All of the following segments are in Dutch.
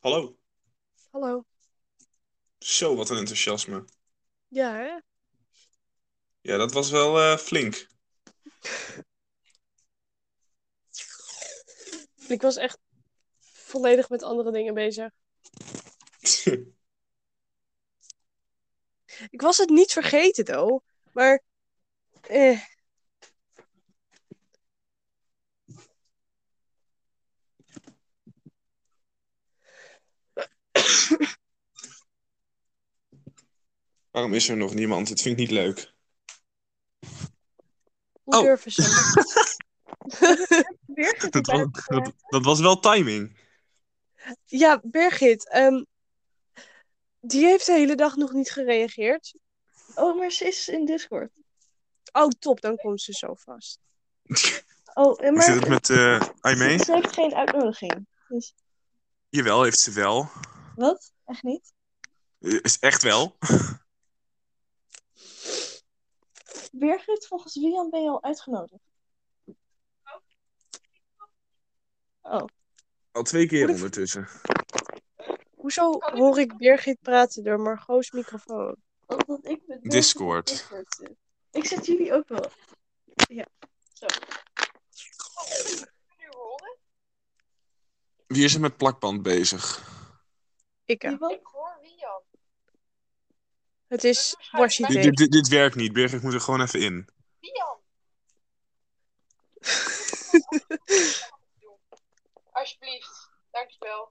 Hallo. Hallo. Zo, wat een enthousiasme. Ja, hè? Ja, dat was wel eh, flink. Ik was echt volledig met andere dingen bezig. Ik was het niet vergeten, though. Maar, eh, Waarom is er nog niemand? Dit vind ik niet leuk. hoe Oh. durven ze? Dat, was, dat, dat was wel timing. Ja, Birgit, ehm, die heeft de hele dag nog niet gereageerd. Oh, maar ze is in Discord. Oh, top, dan komt ze zo vast. Oh, en Hoe maar zit het met eh Aimee? ze, ze heeft geen uitnodiging. Dus Jawel, heeft ze wel. wat? Echt niet? Eh, Is echt wel. Birgit, volgens Wian ben je al uitgenodigd. Oh, Al twee keer Hoe de- ondertussen. Hoezo hoor ik Birgit praten door Margot's microfoon? omdat ik met Discord. Discord zit. Ik zet jullie ook wel. Wie is er met plakband bezig? Ik, Die ja. wat? hoor Wian. Het is Dit, Washington. dit, dit, dit werkt niet, Birgit moet er gewoon even in. Wian, alsjeblieft. Dankjewel.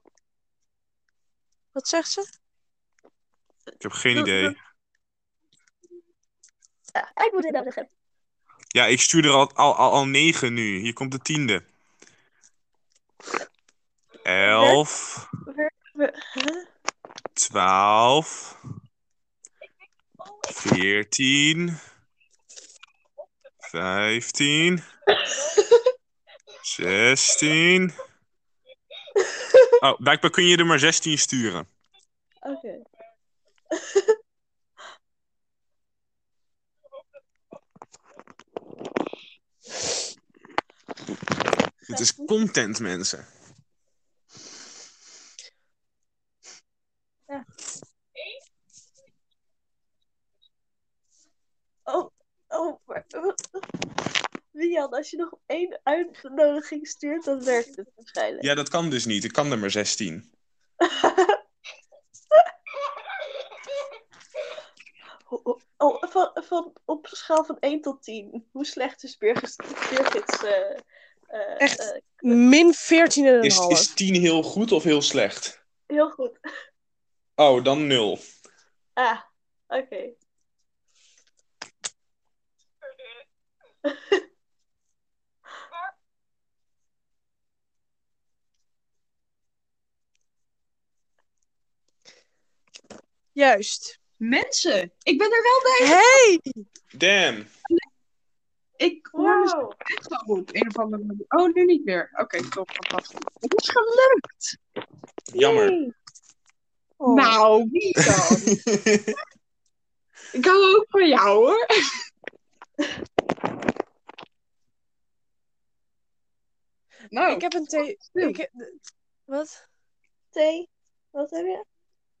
Wat zegt ze? Ik heb geen idee. ik moet uitnodigen. Ja, ik stuur er al, al, al, al negen nu. Hier komt de tiende. Elf. Twaalf. Veertien. Vijftien. Zestien. Oh, blijkbaar kun je er maar zestien sturen. Oké. Dit is content, mensen. Oh, oh, maar... Wian, als je nog één uitnodiging stuurt, dan werkt het waarschijnlijk. Ja, dat kan dus niet. Ik kan er maar zestien. Oh, oh, van, van, op een schaal van 1 tot 10. Hoe slecht is Birgit, Birgit's... eh, eh, Echt? eh, Min 14,5. Is, is tien heel goed of heel slecht? heel goed. Oh, dan nul. Ah, oké. Juist. Mensen, ik ben er wel bij. Hey! Damn. Ik hoor mezelf Wow. echt wel op een of andere manier. Oh, nu niet meer. Oké, top, fantastisch. Het is gelukt. Jammer. Yay. Oh. Nou, wie dan? ik hou ook van jou, hoor. nou, Oh. Ik heb een thee... stil. Ik... Wat? Thee, wat heb je?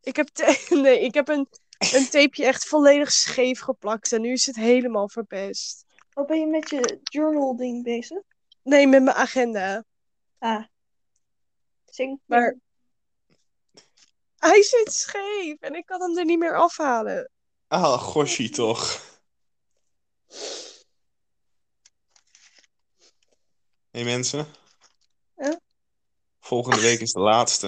Ik heb, te- nee, ik heb een, een tapeje echt volledig scheef geplakt en nu is het helemaal verpest. Oh, ben je met je journal ding bezig? Nee, met mijn agenda. Ah. Zing. Maar- Hij zit scheef en ik kan hem er niet meer afhalen. Ah, goshie toch. Hé hey, mensen. Ja? Volgende week is de laatste.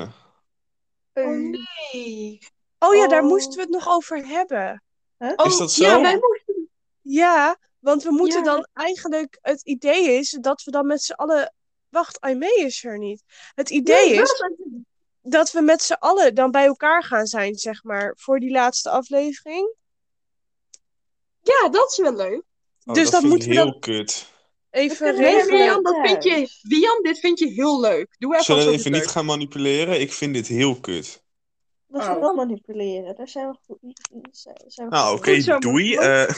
Oh, Eh, nee. Ehm, Oh ja, daar Oh. moesten we het nog over hebben. Oh, Is dat zo? Ja, wij moesten... Ja, want we moeten Ja. dan eigenlijk. Het idee is dat we dan met z'n allen. Wacht, Aimee is er niet. Het idee Nee, is wel. dat we met z'n allen dan bij elkaar gaan zijn, zeg maar, voor die laatste aflevering. Ja, dat is wel leuk. Oh, dus dat vind ik moeten we heel dan kut. even kunnen we Nee, Regel regelen. Wian, dat vind thuis. je... Wian, dit vind je heel leuk. Doe even Zullen alsof we het even leuk niet gaan manipuleren? Ik vind dit heel kut. Wat Oh. we wel manipuleren, daar zijn we goed daar zijn- zijn we Nou, goed oké, in. Goed zo, doei. man. Eh,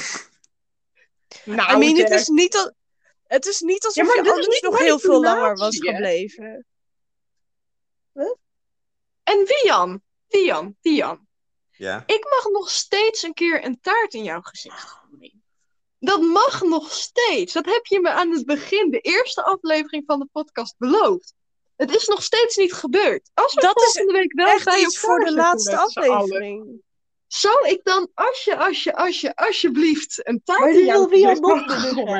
Nou, I mean, het Jack. is niet al... Het is niet alsof maar je dit is anders niet nog heel veel langer was manipulatie, hè? gebleven. En Wian, Wian, Wian. Ja. Ik mag nog steeds een keer een taart in jouw gezicht gooien. Dat mag nog steeds. Dat heb je me aan het begin, de eerste aflevering van de podcast, beloofd. Het is nog steeds niet gebeurd. Als we Dat is volgende week wel Echt bij iets elkaar voor de zitten laatste met z'n allen, aflevering. Zou ik dan, alsje, alsje, alsje, alsjeblieft, een taart Maar in die jouw wil Wian gezicht- nog Goh, doen. eh.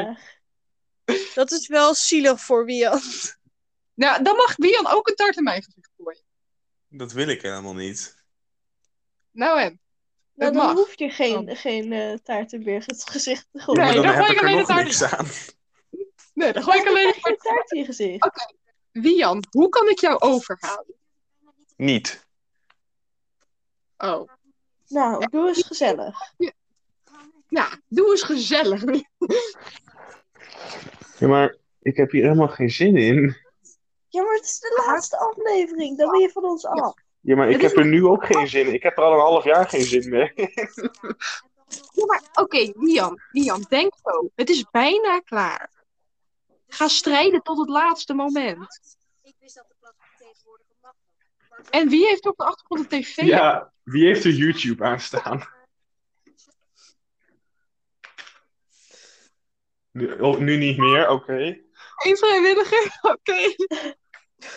graag. Dat is wel zielig voor Wian. Nou, dan mag Wian ook een taart in mijn gezicht gooien. Dat wil ik helemaal niet. Nou en? Nou, Dat dan mag. Oh. hoef je geen, geen eh taart in Birgit's gezicht te gooien. Nee, maar dan dan, gooi heb ik ik er alleen nog het uit. niks aan. Nee, dan gooi ik alleen Geen taart in je gezicht. Wian, hoe kan ik jou overhalen? Niet. Oh. Nou, doe eens gezellig. Nou, doe eens gezellig. Ja, maar ik heb hier helemaal geen zin in. Ja, maar het is de laatste aflevering. Dan ben je van ons af. Ja, maar ik Het is heb er nu ook geen zin in. Ik heb er al een half jaar geen zin mee. Ja, maar oké, Wian, Wian, denk zo. Het is bijna klaar. Ga strijden tot het laatste moment. En wie heeft op de achtergrond een tv? Ja, wie heeft er YouTube aanstaan? Nu, oh, nu niet meer, oké. Eén vrijwilliger? Oké.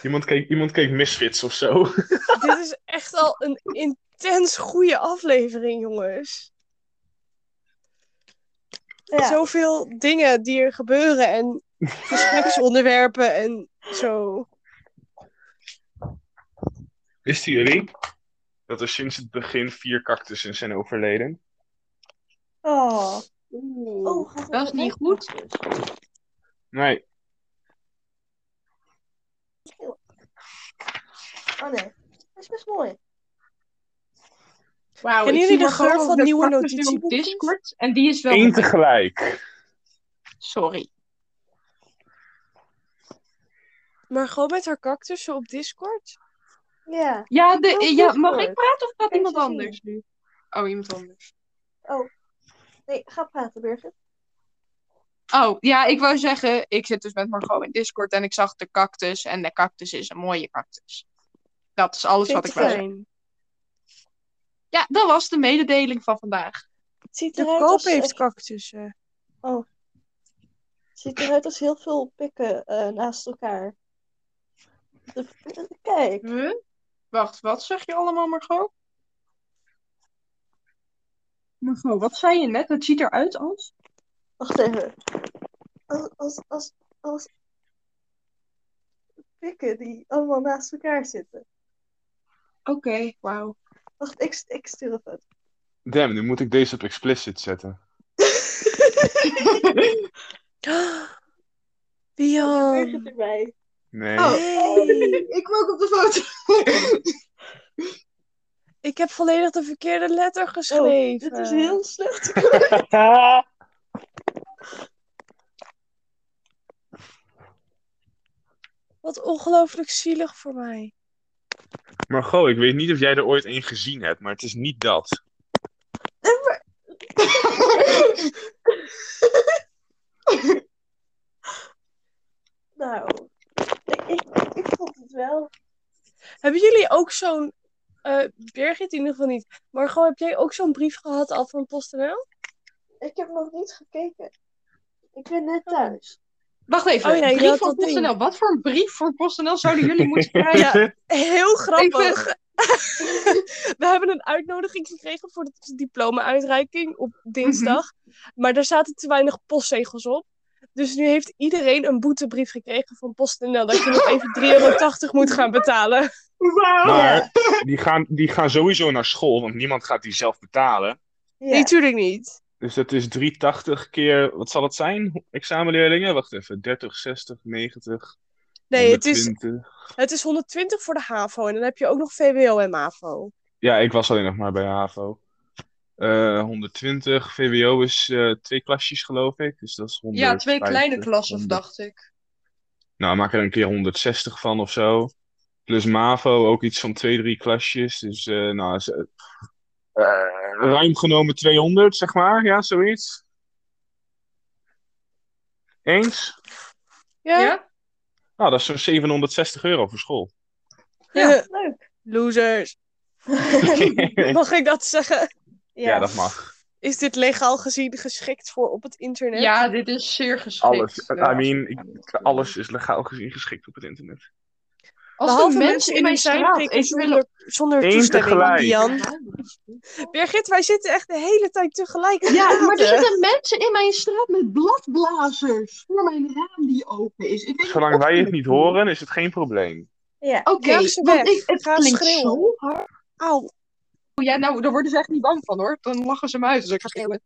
Iemand, keek, iemand keek Misfits of zo. Dit is echt al een intens goede aflevering, jongens. Ja. Zoveel dingen die er gebeuren en gespreksonderwerpen en zo. Wisten jullie dat er sinds het begin vier cactussen zijn overleden? Oh. Oeh, Oh, gaat het dat is wel niet echt? goed. Nee, Oh nee. Dat is best mooi. Wauw, Kennen jullie ik zie de hier geur gewoon van de nieuwe cactus nu op notitieboekjes? Discord en die is wel... één tegelijk. Sorry. Maar gewoon met haar cactussen op Discord? Ja. Ja, de, Heel ja goed mag hoor. ik praten of praat Kan je iemand ze zien? anders nu? Oh, iemand anders. Nee, ga praten, Birgit. Oh, ja, ik wou zeggen, ik zit dus met Margot in Discord en ik zag de cactus. En de cactus is een mooie cactus. Dat is alles wat ik wou zeggen. Fijn. Ja, dat was de mededeling van vandaag. Het ziet De eruit koop als, heeft heeft... cactussen. het ziet eruit als heel veel pikken eh, naast elkaar. De- Kijk. Huh? Wacht, wat zeg je allemaal, Margot? Margot, wat zei je net? Het ziet eruit als... Wacht even. Als, als, als, als pikken die allemaal naast elkaar zitten. Oké, wauw. Wacht, ik, ik stuur een foto. Damn, nu moet ik deze op explicit zetten. Birgit Oh, Wian. erbij. Nee. Oh. Hey. ik wil ook op de foto. Ik heb volledig de verkeerde letter geschreven. Oh, Dit is heel slecht. Wat ongelooflijk zielig voor mij. Margot, ik weet niet of jij er ooit één gezien hebt, maar het is niet dat. Nou, ik, ik, ik vond het wel. Hebben jullie ook zo'n... eh Birgit in ieder geval niet. Maar gewoon, heb jij ook zo'n brief gehad al van PostNL? Ik heb nog niet gekeken. Ik ben net thuis. Wacht even, Oh ja, je brief had voor dat ding. PostNL. Wat voor een brief voor PostNL zouden jullie moeten krijgen? Ja. Heel Ik grappig. We hebben een uitnodiging gekregen voor de diploma-uitreiking op dinsdag. Mhm. Maar daar zaten te weinig postzegels op. Dus nu heeft iedereen een boetebrief gekregen van PostNL. Dat je nog even 3,80 euro moet gaan betalen. Wauw. Maar die gaan, die gaan sowieso naar school, want niemand gaat die zelf betalen. Ja. Natuurlijk niet. Dus dat is 380 keer, wat zal het zijn? Examenleerlingen? Wacht even, 30, 60, 90, Nee, het is, 120. het is 120 voor de HAVO. En dan heb je ook nog VWO en MAVO. Ja, ik was alleen nog maar bij HAVO. Eh 120, VWO is eh, twee klasjes geloof ik, dus dat is Ja, twee 150, kleine klassen, 100. dacht ik. Nou, maak er een keer 160 van of zo. Plus MAVO, ook iets van twee, drie klasjes. Dus eh, nou, is, eh, eh, ruim genomen 200, zeg maar. Ja, zoiets. Eens? Ja? Ja? Ah, Nou, dat is zo'n 760 euro voor school. Ja. Eh, Leuk. Losers. Mag ik dat zeggen? ja, dat mag. Is dit legaal gezien geschikt voor op het internet? Ja, dit is zeer geschikt. Alles. I eh, mean, ik- alles is legaal gezien geschikt op het internet. Als Behalve de mensen in mijn hun zijn straat prikken eens zonder, zonder Eén toestemming, tegelijk. Jan. Birgit, wij zitten echt de hele tijd tegelijk. te Ja, maar er praten. zitten mensen in mijn straat met bladblazers voor mijn raam die open is. Ik weet Zolang of wij je het niet horen, is het geen probleem. Ja. Oké, Jaag ze want weg. ik, het Ga klinkt schreeuwen. zo hard. Auw. Ja, nou, daar worden ze echt niet bang van hoor. Dan lachen ze me uit als ik ga schreeuwen.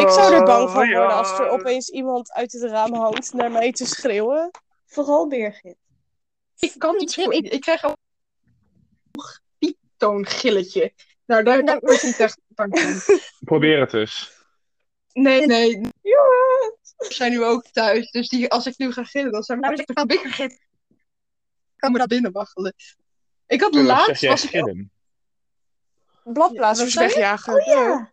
Ik zou er bang van Oh, ja. worden als er opeens iemand uit het raam hangt naar mij te schreeuwen. Vooral Birgit. Ik kan niet schreeuwen. Ik, ik krijg al een pieptoongilletje. Nou, daar, daar word ik niet echt bang van. Probeer het dus. Nee, nee. We zijn nu ook thuis. Dus die, als ik nu ga gillen, dan zijn we echt een dikker gillen. Kan me dat binnen waggelen. Ik had En dan zeg laatst... jij Was ik, schillen. Bladblazers Ja, wat zei je? wegjagen. Ja.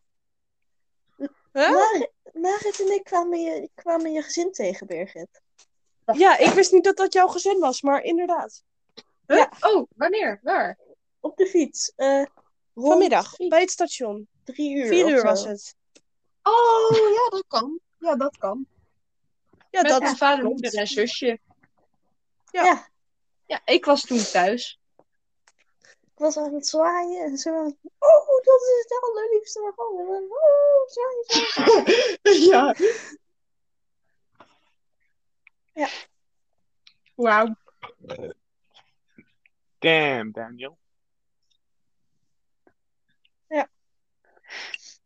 Huh? Mar- Marit en ik kwamen je, kwamen je gezin tegen, Birgit. Ja, ik wist niet dat dat jouw gezin was, maar inderdaad. Oh, wanneer? Waar? Op de fiets. eh rond Vanmiddag, drie- bij het station. Drie uur. Vier of uur zo. was het. Oh, ja, dat kan. Ja, dat kan. Ja, Met dat mijn vader, klopt. moeder en zusje. Ja. Ja. Ja, ik was toen thuis. Ik was aan het zwaaien en ze was... Oh, dat is de allerliefste wagon. En dan, Oh, zwaaien, zwaaien. ja. Ja. Wauw. Damn, Daniel.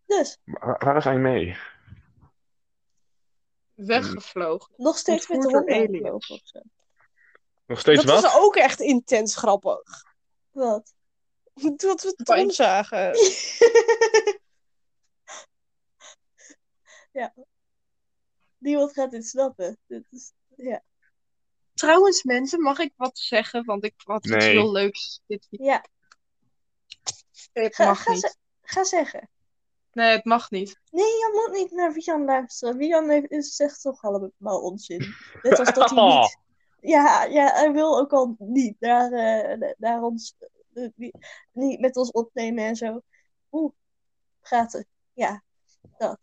Dus, Waar, waar is hij mee? Weggevlogen. nog steeds met de Ontvoerd honden door aliens. aangelopen of zo. Nog Dat steeds wat? was ook echt intens grappig. Wat? Dat we het Fijn. toen zagen. Niemand gaat dit snappen. Dit is... Ja. Trouwens, mensen, mag ik wat zeggen? Want ik had iets Nee. heel leuks dit weekend. Ja, Het ga, mag ga, niet. ze- ga zeggen. Nee, het mag niet. Nee, je moet niet naar Vian luisteren. Vian heeft, is, zegt toch allemaal onzin. Net als dat Oh. hij niet... Ja, ja hij wil ook al niet naar, eh, naar ons... eh, niet, niet met ons opnemen en zo. Oeh, praten. Ja, Ja,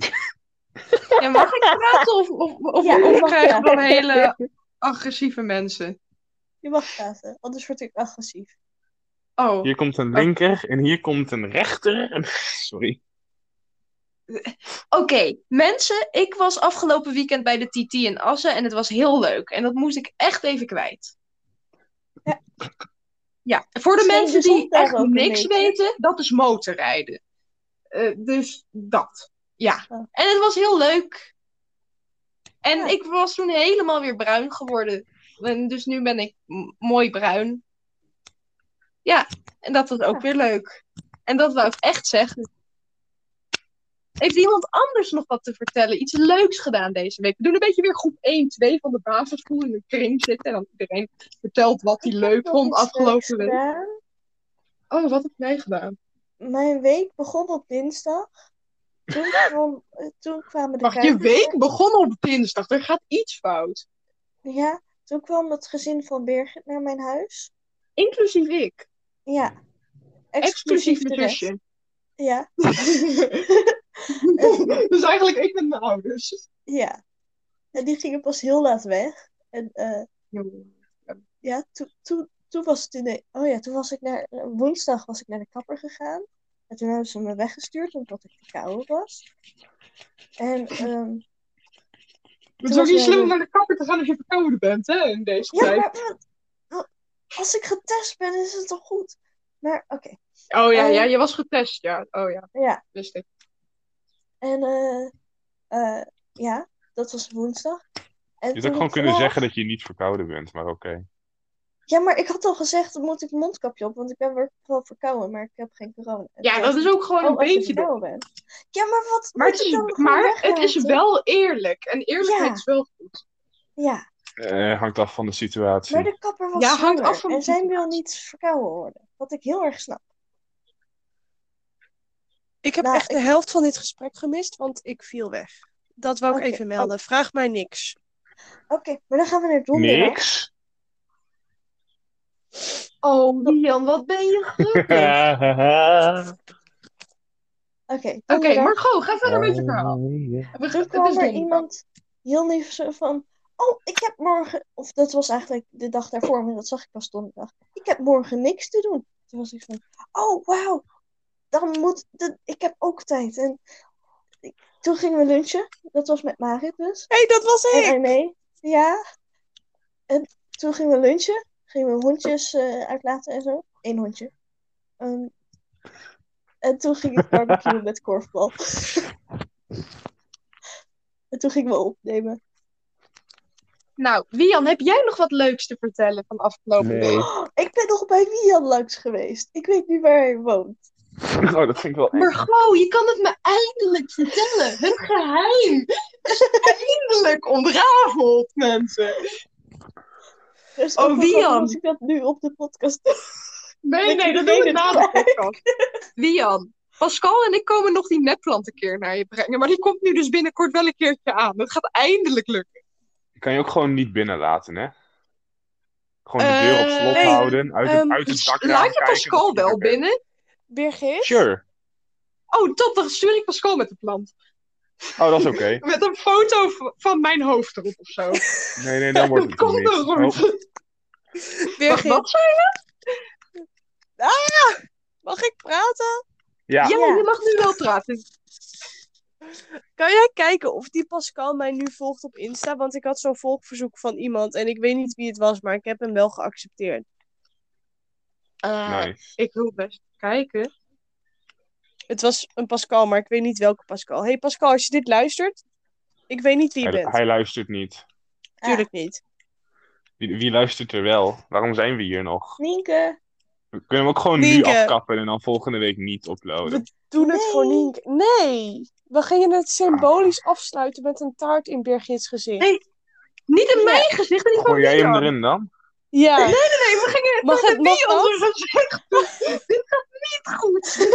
mag ik praten of, of, of, Ja, of je mag krijgen we dan praten. hele agressieve mensen? je mag praten. Anders word ik agressief. Oh, Hier komt een linker en hier komt een rechter. En... Sorry. Oké, mensen, ik was afgelopen weekend bij de TT in Assen en het was heel leuk. En dat moest ik echt even kwijt. Ja. Ja, voor de Misschien mensen de die zondag echt ook een niks beetje. weten, dat is motorrijden. Eh, dus dat. Ja. Oh. En het was heel leuk. En Ja. ik was toen helemaal weer bruin geworden. En dus nu ben ik m- mooi bruin. Ja, en dat was ook Ja. weer leuk. En dat wou ik echt zeggen. Heeft iemand anders nog wat te vertellen? Iets leuks gedaan deze week? We doen een beetje weer groep 1, 2 van de basisschool in een kring zitten. En dan iedereen vertelt wat hij leuk Nog vond iets eh, afgelopen leuks week. gedaan. Oh, wat heb jij gedaan? Mijn week begon op dinsdag. Toen, kwam- eh, toen kwamen de Wacht, je kijkers- week begon op dinsdag. Er gaat iets fout. Ja, toen kwam het gezin van Birgit naar mijn huis. Inclusief ik. Ja. Exclusief mijn terecht. zusje. Ja, dus eigenlijk ik met mijn ouders. ja. En die gingen pas heel laat weg. En eh, ja, toen, toen, toen was het in de... Oh ja, toen was ik naar... Woensdag was ik naar de kapper gegaan. En toen hebben ze me weggestuurd omdat ik verkouden was. En ehm, was Het is ook niet wel slim om leuk. naar de kapper te gaan als je verkouden bent, hè, in deze ja, tijd. maar, maar- als ik getest ben, is het toch goed? Maar oké, Oh ja, Eh. ja, je was getest, ja. Oh ja, ja. wist ik. En eh, eh, ja, dat was woensdag. En Je had toen ook gewoon ik kunnen vandaag- zeggen dat je niet verkouden bent, maar oké. Ja, maar ik had al gezegd, dan moet ik een mondkapje op, want ik ben weer wel verkouden, maar ik heb geen corona. En Ja, toen dat zei is ze, ook gewoon "Oh, een als je beetje... verkouden bent. Ja, maar wat Maar, moet het ik is, dan gewoon maar het is weglaten? wel eerlijk. En eerlijkheid Ja. is wel goed. Ja, Eh, hangt af van de situatie. maar de kapper was Ja, hangt zwanger af van de en zij wil situatie. niet verkouden worden. Wat ik heel erg snap. Ik heb Nou, echt de helft van dit gesprek gemist, want ik viel weg. Dat wou ik Oké, even melden. Vraag mij niks. Oké, maar dan gaan we naar donderdag. Niks? Oh, Lian, wat ben je gelukkig. Oké, Oké, toen we daar- Margot, ga verder Oh. met je verhaal. Ja. We- Toen het dus kwam is er donker. iemand heel lief zo van... Oh, ik heb morgen... Of dat was eigenlijk de dag daarvoor, maar dat zag ik pas donderdag. Ik heb morgen niks te doen. Toen was ik van... Oh, wauw. Dan moet... dat- ik heb ook tijd. En ik- toen gingen we lunchen. Dat was met Marit dus. Hé, dat was En ik! René. Ja. En toen gingen we lunchen. Gingen we hondjes eh, uitlaten en zo. Eén hondje. Ehm, en toen ging ik barbecuen met korfbal. en toen gingen we opnemen. Nou, Lian, heb jij nog wat leuks te vertellen van afgelopen week? Nee. Oh, ik ben nog bij Wian langs geweest. Ik weet nu waar hij woont. Oh, dat vind ik wel eng. Margot, je kan het me eindelijk vertellen. Hun geheim is eindelijk ontrafeld, mensen. Dus Oh, ook wel Wian. waarom moet ik dat nu op de podcast doen? Nee, nee, dat doen we weet na ik de podcast. Lian, Pascal en ik komen nog die nepplant een keer naar je brengen. Maar die komt nu dus binnenkort wel een keertje aan. Dat gaat eindelijk lukken. Je kan je ook gewoon niet binnenlaten, hè? Gewoon de Eh, deur op slot nee, houden, uit het, ehm, uit het dakraam Laat je kijken, Pascal dat is wel lekker. binnen? Birgit? Sure. Oh, top, dan stuur ik Pascal met de plant. Oh, dat is oké. Met een foto v- van mijn hoofd erop of zo. Nee, nee, dan wordt het Kom niet. er rond. Oh, Wacht, Birgit, wat zei je? mag ik praten? ja. Ja, Ja. je mag nu wel praten. Kan jij kijken of die Pascal mij nu volgt op Insta? Want ik had zo'n volgverzoek van iemand en ik weet niet wie het was, maar ik heb hem wel geaccepteerd. Eh, nice. Ik wil best kijken. Het was een Pascal, maar ik weet niet welke Pascal. hey Pascal, als je dit luistert, ik weet niet wie je Hij, bent. hij luistert niet. Tuurlijk niet. Wie, wie luistert er wel? Waarom zijn we hier nog? Nienke. We kunnen hem ook gewoon nu Nienke. afkappen en dan volgende week niet uploaden. Doe het voor Nee. Nienke. Nee! We gingen het symbolisch afsluiten met een taart in Birgit's gezicht. Nee. Niet in mijn gezicht, en niet van Gooi jij hem Lian. erin dan? Ja. Nee, we gingen het Mag met het- mag die dat? onder gezicht. Dit gaat niet goed.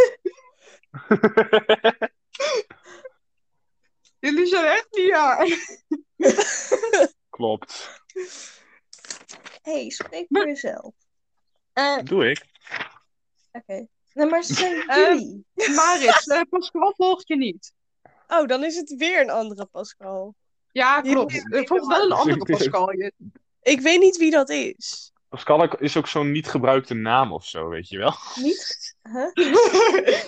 Jullie zijn echt niet waar. Klopt. hey, spreek voor jezelf. Dat doe ik. Oké. Nou, maar ze zijn Eh, jullie. Marit, eh, Pascal volgt je niet. Oh, dan is het weer een andere Pascal. Ja, Die klopt. moet- Er volgt wel een andere Precies. Pascal. je. Ik weet niet wie dat is. Pascal is ook zo'n niet gebruikte naam of zo, weet je wel? Niet? Huh?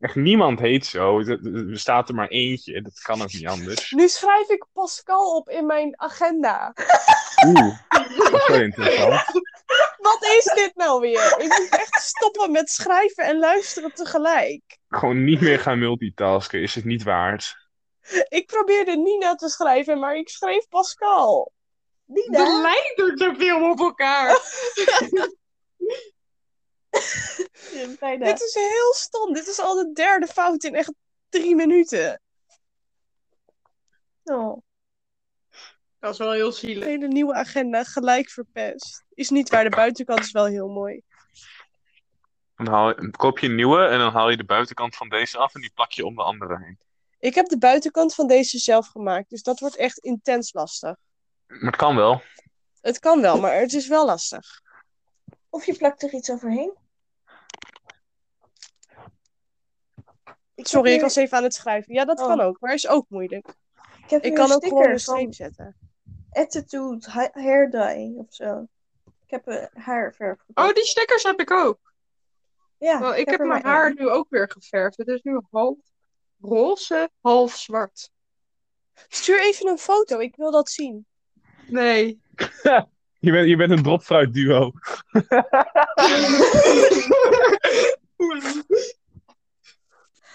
Echt niemand heet zo. Er er bestaat er maar eentje. Dat kan ook niet anders. Nu schrijf ik Pascal op in mijn agenda. Oeh, dat is wel interessant. Wat is dit nou weer? Ik moet echt stoppen met schrijven en luisteren tegelijk. Gewoon niet meer gaan multitasken. Is het niet waard? Ik probeerde Nina te schrijven, maar ik schreef Pascal. De Nina. lijn doet er veel op elkaar. Bijna. Dit is heel stom. Dit is al de derde fout in echt drie minuten. Oh. Dat is wel heel De zielig. hele nieuwe agenda gelijk verpest. Is niet waar, de buitenkant is wel heel mooi. Dan haal je, dan koop je een nieuwe en dan haal je de buitenkant van deze af en die plak je om de andere heen. Ik heb de buitenkant van deze zelf gemaakt, dus dat wordt echt intens lastig. Maar het kan wel. Het kan wel, maar het is wel lastig. Of je plakt er iets overheen. Ik Sorry, heb ik hier- was even aan het schrijven. Ja, dat Oh. kan ook, maar is ook moeilijk. ik heb Ik hier kan een ook gewoon sticker een van streep zetten. Attitude ha- Hair Dye of zo. Ik heb eh, haarverf. gekocht. Oh, die stickers heb ik ook. ja, Wel, ik heb er mijn maar haar één. nu ook weer geverfd. Het is nu half roze, half zwart. Stuur even een foto, ik wil dat zien. Nee. Je bent, je bent een dropfruit duo.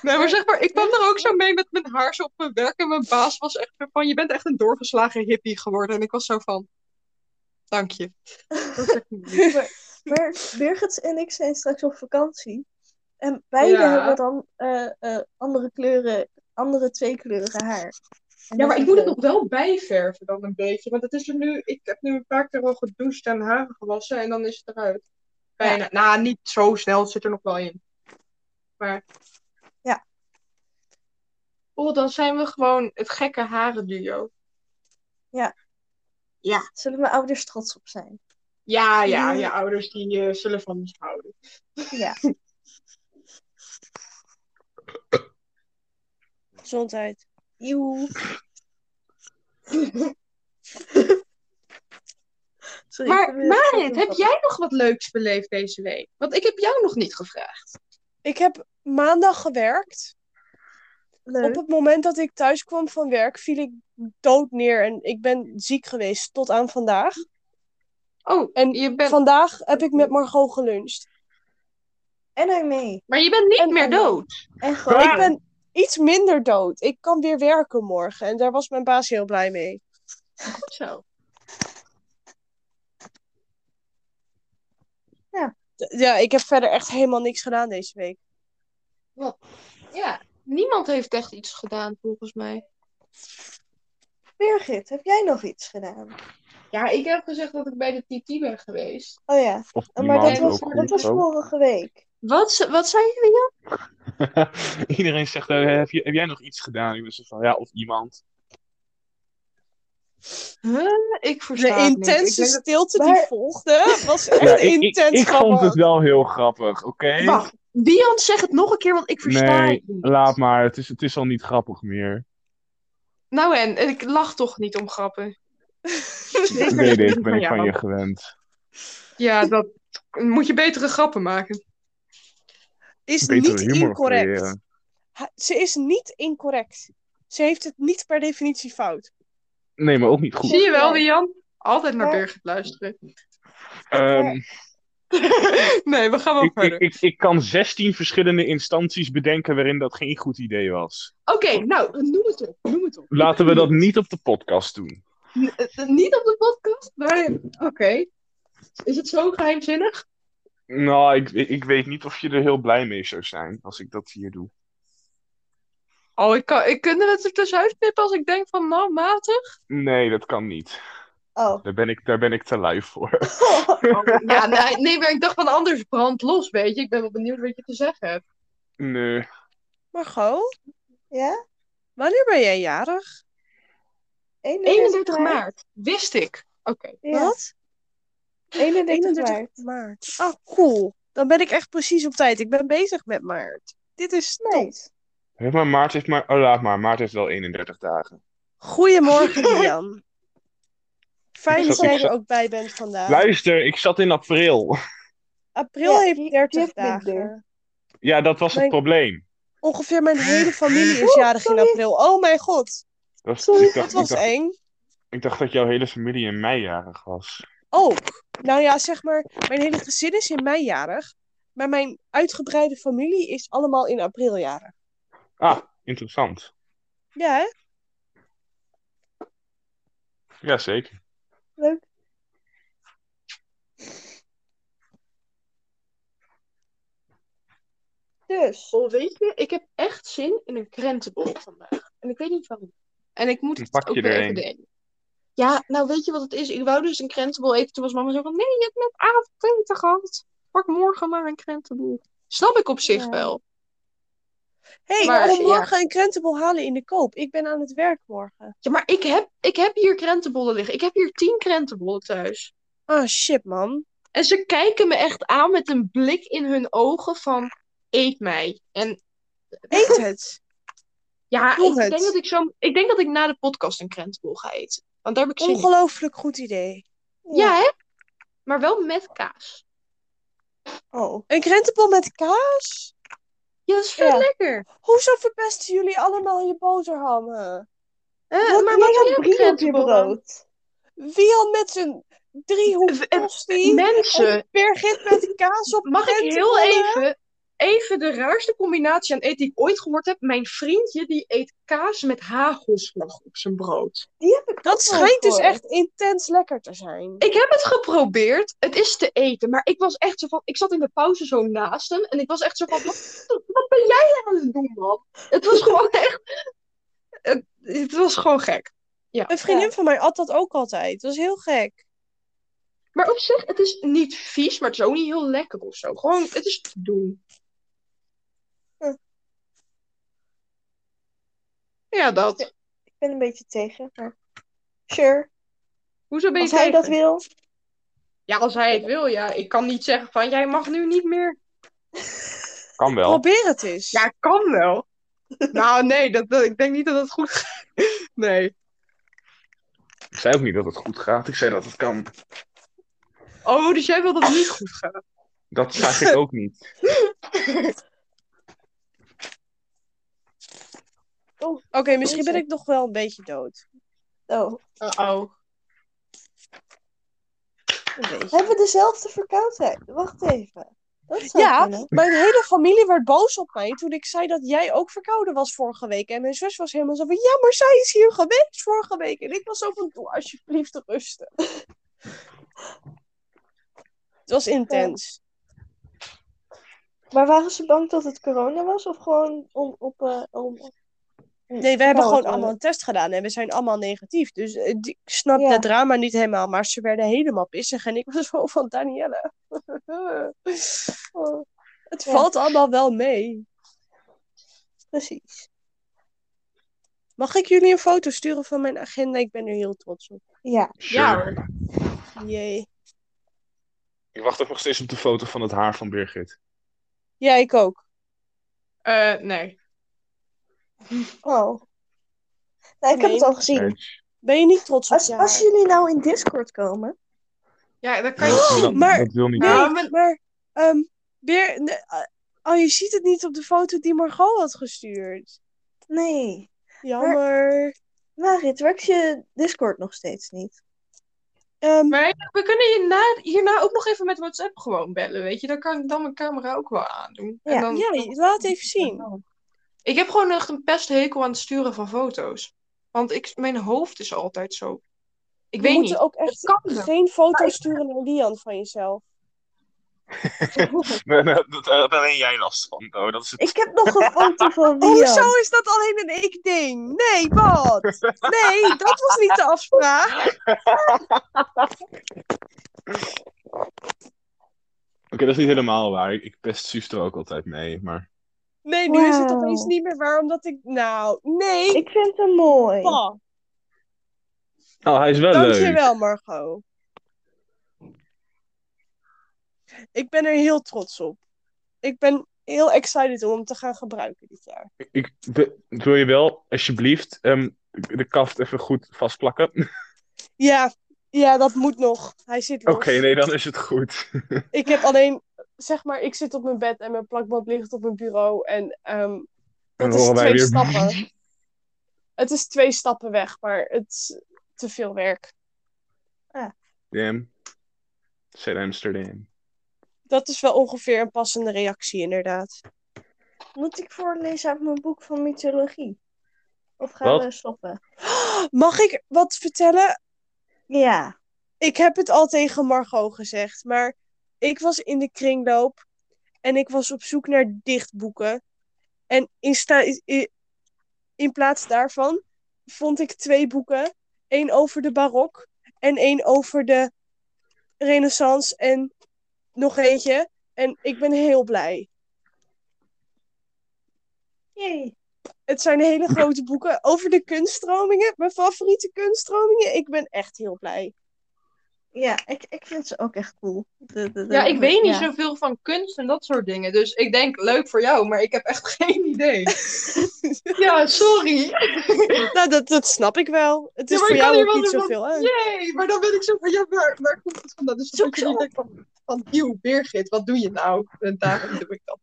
Nee, maar zeg maar, ik kwam er ook zo mee met mijn haar zo op mijn werk. En mijn baas was echt zo van, je bent echt een doorgeslagen hippie geworden. En ik was zo van, dank je. Dat is echt niet. Maar Birgit en ik zijn straks op vakantie. En beide Ja. hebben dan eh, eh, andere kleuren, andere twee kleuren haar. En Ja, dat maar ik is moet het leuk. nog wel bijverven dan een beetje. Want het is er nu, ik heb nu een paar keer al gedoucht en haren gewassen. En dan is het eruit. Bijna. Nou, niet zo snel. Het zit er nog wel in. Maar. Ja. Oh, dan zijn we gewoon het gekke haren duo. Zullen mijn ouders trots op zijn? Ja, ja, je ouders die eh, zullen van ons houden. Gezondheid. Joe. Sorry, ik Maar ben weer even Marit, van heb jij nog wat leuks beleefd deze week? Want ik heb jou nog niet gevraagd. Ik heb maandag gewerkt. Leuk. Op het moment dat ik thuis kwam van werk, viel ik dood neer. En ik ben ziek geweest tot aan vandaag. Oh, En en je bent... Vandaag heb ik met Margot geluncht. En hij mee. maar je bent niet en- meer en- dood. En gewoon. Ah. Ik ben iets minder dood. Ik kan weer werken morgen. En daar was mijn baas heel blij mee. Goed zo. D- Ja, ik heb verder echt helemaal niks gedaan deze week. Ja, niemand heeft echt iets gedaan volgens mij. Birgit, heb jij nog iets gedaan? Ja, ik heb gezegd dat ik bij de TT ben geweest. Oh ja, Of maar dat maand was, ook dat goed was vorige week. Wat, ze- wat zei je weer? Iedereen zegt, eh, heb, je, heb jij nog iets gedaan? Ik ben zo van, ja, of iemand. Huh? Ik De versta het niet. Ik intense denk dat- stilte die Maar- volgde was echt Ja, ik, ik, intens. ik vond grappig. het wel heel grappig, oké? Wacht, Dion, zeg het nog een keer, want ik versta Nee, het niet. laat maar. Het is, het is al niet grappig meer. Nou en, en ik lach toch niet om grappen. Dat weet ik, ben ik van je gewend. Ja, dat moet je betere grappen maken. Is Betere niet humor incorrect. creëren. Ha- Ze is niet incorrect. Ze heeft het niet per definitie fout. Nee, maar ook niet goed. Zie je wel, Nee. Dion? Altijd naar Maar- Birgit luisteren. Ehm, nee, we gaan wel ik, ik, verder. ik, ik kan 16 verschillende instanties bedenken waarin dat geen goed idee was. Oké, nou, noem het op. Noem het op. Laten we dat niet op de podcast doen. N- eh, niet op de podcast, maar oké. Is het zo geheimzinnig? Nou, ik, ik weet niet of je er heel blij mee zou zijn als ik dat hier doe. Oh, ik, kan, ik kan het er tussenuit knippen als ik denk van, nou, matig. Nee, dat kan niet. Oh. Daar ben ik, daar ben ik te lui voor. ja, nee, nee, maar ik dacht van, anders brand los, weet je. Ik ben wel benieuwd wat je te zeggen hebt. Nee, Margot, ja? wanneer ben jij jarig? 31 maart, wist ik. Oké. Ja, Wat? 31, 31 maart. maart. Ah, cool. Dan ben ik echt precies op tijd. Ik ben bezig met maart. Dit is top. Nice. Hé, maar Maart heeft maar... Oh, laat maar. Maart heeft wel 31 dagen. Goedemorgen, Dian. Fijn Ik dat zat- jij ik zat- er ook bij bent vandaag. Luister, ik zat in april. April Ja, die- heeft die 30 heeft dagen. minder. Ja, dat was het Nee. probleem. Ongeveer mijn hele familie is jarig in sorry. april. Oh mijn god, Dat, Sorry, ik, dat dacht, ik, was dacht, eng. ik dacht dat jouw hele familie in mei jarig was. Ook. Nou ja, zeg maar, mijn hele gezin is in mei jarig. Maar mijn uitgebreide familie is allemaal in april jarig. Ah, interessant. Ja, hè? Jazeker. Leuk. Dus, Oh, weet je, ik heb echt zin in een krentenbol vandaag. En ik weet niet waarom. En ik moet Dan het pak je ook er weer een. even delen. Ja, nou weet je wat het is? Ik wou dus een krentenbol eten. Toen was mama zo van, nee, je hebt net avondeten gehad. Pak morgen maar een krentenbol. Snap ik op zich Ja. wel. Hé, hey, Maar, waarom ja. morgen een krentenbol halen in de koop? Ik ben aan het werk morgen. Ja, maar ik heb, ik heb hier krentenbollen liggen. Ik heb hier tien krentenbollen thuis. Ah, shit, man. En ze kijken me echt aan met een blik in hun ogen van, eet mij. En Eet het. ja, Doe ik denk, het. dat ik, zo, ik denk dat ik na de podcast een krentenbol ga eten. Want daar heb ik zin in. Ongelooflijk goed idee. Ja, hè? Maar wel met kaas. oh. Een krentenbol met kaas? Ja, dat is vet Ja. lekker. Hoezo verpesten jullie allemaal je boterhammen? Eh, Wat maar doe wat jij doe aan je brie op je brood? Wie al met zijn driehoek V- eh, tosti? Mensen, En Birgit met kaas op mag ik heel krentenbollen? even, even de raarste combinatie aan eten die ik ooit gehoord heb? Mijn vriendje die eet kaas met hagelslag op zijn brood. Die heb ik Dat ook wel schijnt dus gehoord. echt intens lekker te zijn. Ik heb het geprobeerd, het is te eten, maar ik was echt zo van, ik zat in de pauze zo naast hem en ik was echt zo van, wat, wat ben jij aan het doen, man? Het was gewoon echt, het, het was gewoon gek. Een vriendin Ja. van mij at dat ook altijd. Dat is heel gek. Maar op zich, het is niet vies, maar het is ook niet heel lekker of zo. Gewoon, het is te doen. Hm. Ja, dat. Ik ben een beetje tegen, maar... Sure, Hoezo ben je als hij tegen? dat wil. Ja, als hij het wil, ja. Ik kan niet zeggen van, jij mag nu niet meer. Kan wel. Probeer het eens. Ja, kan wel. nou, nee, dat, dat- ik denk niet dat dat goed gaat. Nee. Ik zei ook niet dat het goed gaat. Ik zei dat het kan. Oh, dus jij wil dat het niet goed gaat. Dat zag ik ook niet. Oké, misschien ben ik nog wel een beetje dood. Oh, oh Een beetje. hebben we dezelfde verkoudheid? Wacht even. Dat zou Ja. kunnen. Mijn hele familie werd boos op mij toen ik zei dat jij ook verkouden was vorige week. En mijn zus was helemaal zo van, ja, maar zij is hier geweest vorige week. En ik was zo van, doe alsjeblieft rusten. Het was intens. Maar waren ze bang dat het corona was? Of gewoon om... op eh, om... Nee, we hebben Nou, gewoon eh, allemaal een test gedaan en we zijn allemaal negatief. Dus eh, die- ik snap Ja. dat drama niet helemaal, maar ze werden helemaal pissig. En ik was zo van, Danielle, oh, het Ja. valt allemaal wel mee. precies. Mag ik jullie een foto sturen van mijn agenda? Ik ben er heel trots op. Ja. Ja, Sure. Jee. Ik wacht ook nog steeds op de foto van het haar van Birgit. Ja, ik ook. Eh, nee. Oh. Nou, ik heb Nee. het al gezien. Nee. Ben je niet trots op Als, je als haar? jullie nou in Discord komen... Ja, dat kan je... Dat, dat- maar- dat wil niet. Nou, Nee, maar- maar ehm, weer, ne- eh, oh, je ziet het niet op de foto die Margot had gestuurd. Nee. Jammer. Marit, werkt je Discord nog steeds niet? Ehm, Maar we kunnen hierna, hierna ook nog even met WhatsApp gewoon bellen, weet je. Dan kan ik dan mijn camera ook wel aandoen. En Ja. dan- ja, laat even zien. Ik heb gewoon echt een pesthekel aan het sturen van foto's. Want ik, mijn hoofd is altijd zo. Ik We weet moeten niet. ook echt kan wel. geen foto sturen naar Lian van jezelf. Nee, nee, dat- Daar heb alleen jij last van. Oh, dat is het. Ik heb nog een foto van Lian. Oh, Hoezo is dat alleen een ik-ding? Nee, wat? Nee, dat was niet de afspraak. Oké, dat is niet helemaal waar. Ik, ik pest Suus er ook altijd mee. Maar Nee, nu is het Wauw. opeens niet meer waar, omdat ik... Nou, nee, Ik vind hem mooi. pa. oh, hij is wel leuk. Dankjewel, Margot. Ik ben er heel trots op. Ik ben heel excited om hem te gaan gebruiken dit jaar. Ik be- wil je wel, alsjeblieft, ehm, de kaft even goed vastplakken. Oké, Ja, ja, dat moet nog. Hij zit los. nee, dan is het goed. Ik heb alleen, zeg maar, ik zit op mijn bed en mijn plakband ligt op mijn bureau. En ehm, Dan dat is horen wij twee weer- stappen. Het is twee stappen weg, maar het is te veel werk. Damn. Zet Amsterdam. Dat is wel ongeveer een passende reactie, inderdaad. Moet ik voorlezen uit mijn boek van mythologie? Of gaan Wat? we stoppen? Mag ik wat vertellen? Ja. ik heb het al tegen Margot gezegd, maar ik was in de kringloop en ik was op zoek naar dichtboeken. En in, sta- i- in plaats daarvan vond ik twee boeken. Eén over de barok en één over de renaissance en nog eentje. En ik ben heel blij. Jee. Het zijn hele grote boeken over de kunststromingen, mijn favoriete kunststromingen. Ik ben echt heel blij. Ja, ik, ik vind ze ook echt cool. De- de- de- Ja, ik weet niet ja. zoveel van kunst en dat soort dingen. Dus ik denk, leuk voor jou, maar ik heb echt geen idee. ja, sorry. Nou, dat, dat snap ik wel. Het Ja, is maar voor ik jou kan hier ook wel niet weer van- zoveel uit. Jee, maar dan ben ik zo van, ja, waar, waar komt het vandaan? Dus dan Zoek ben ik ze niet van, van, eeuw, Birgit, wat doe je nou? En daarom doe ik dat.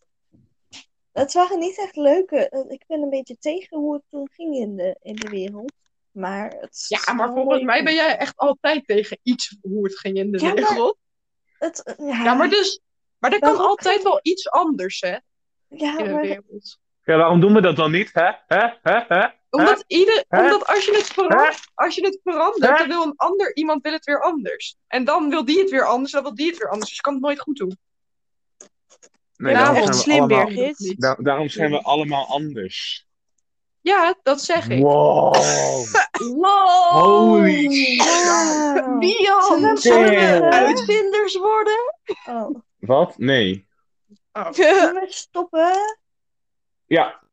Het waren niet echt leuke. eh, Ik ben een beetje tegen hoe het toen ging in de, in de wereld. Maar het is- het Ja, is maar wel volgens leuk. mij ben jij echt altijd tegen iets hoe het ging in de Ja, maar- wereld. Het, eh, ja, Ja, maar dus... Maar er kan Waarom- altijd wel iets anders, hè, ja, in de maar- wereld. Ja, waarom doen we dat dan niet? Hè? Hè? Hè? Hè? Omdat, ieder, Hè? omdat als, je het verandert, als je het verandert, Hè? dan wil een ander iemand wil het weer anders. En dan wil die het weer anders, dan wil die het weer anders. Dus je kan het nooit goed doen. Nee, Ja, daarom zijn echt we Nou, slim, allemaal... Birgit. Of niet? Da- daarom zijn we allemaal anders. Ja, dat zeg ik. Oh. Wow. Wow! Holy shit. Wauw. Dion, Zullen zullen we Damn. uitvinders worden? Oh. Wat? Nee. Oh. Zullen we stoppen? Ja,